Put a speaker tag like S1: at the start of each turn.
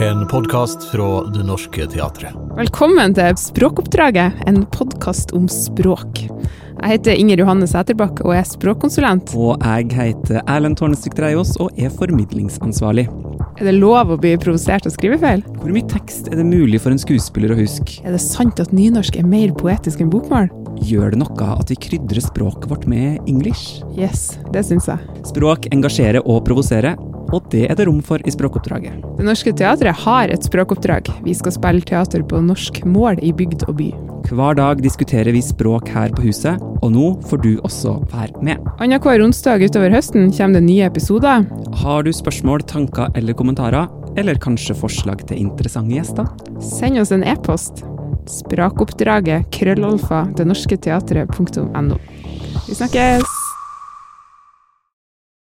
S1: En podkast fra Det Norske Teatret.
S2: Velkommen til Språkoppdraget, en podkast om språk. Jeg heter Inger Johanne Sæterbakk og er språkkonsulent.
S3: Og jeg heter Erlend Tornesvik Dreiaas og er formidlingsansvarlig.
S2: Er det lov å bli provosert av skrivefeil?
S3: Hvor mye tekst er det mulig for en skuespiller å huske?
S2: Er det sant at nynorsk er mer poetisk enn bokmål?
S3: Gjør det noe at vi krydrer språket vårt med English?
S2: Yes, det syns jeg.
S3: Språk engasjerer og provoserer, og det er det rom for i Språkoppdraget.
S2: Det Norske Teatret har et språkoppdrag. Vi skal spille teater på norsk mål i bygd og by.
S3: Hver dag diskuterer vi språk her på huset, og nå får du også være med.
S2: Annenhver onsdag utover høsten kommer det nye episoder.
S3: Har du spørsmål, tanker eller kommentarer, eller kanskje forslag til interessante gjester?
S2: Send oss en e-post. Sprakoppdraget krøllalfa det norske teatret punktum no. Vi snakkes!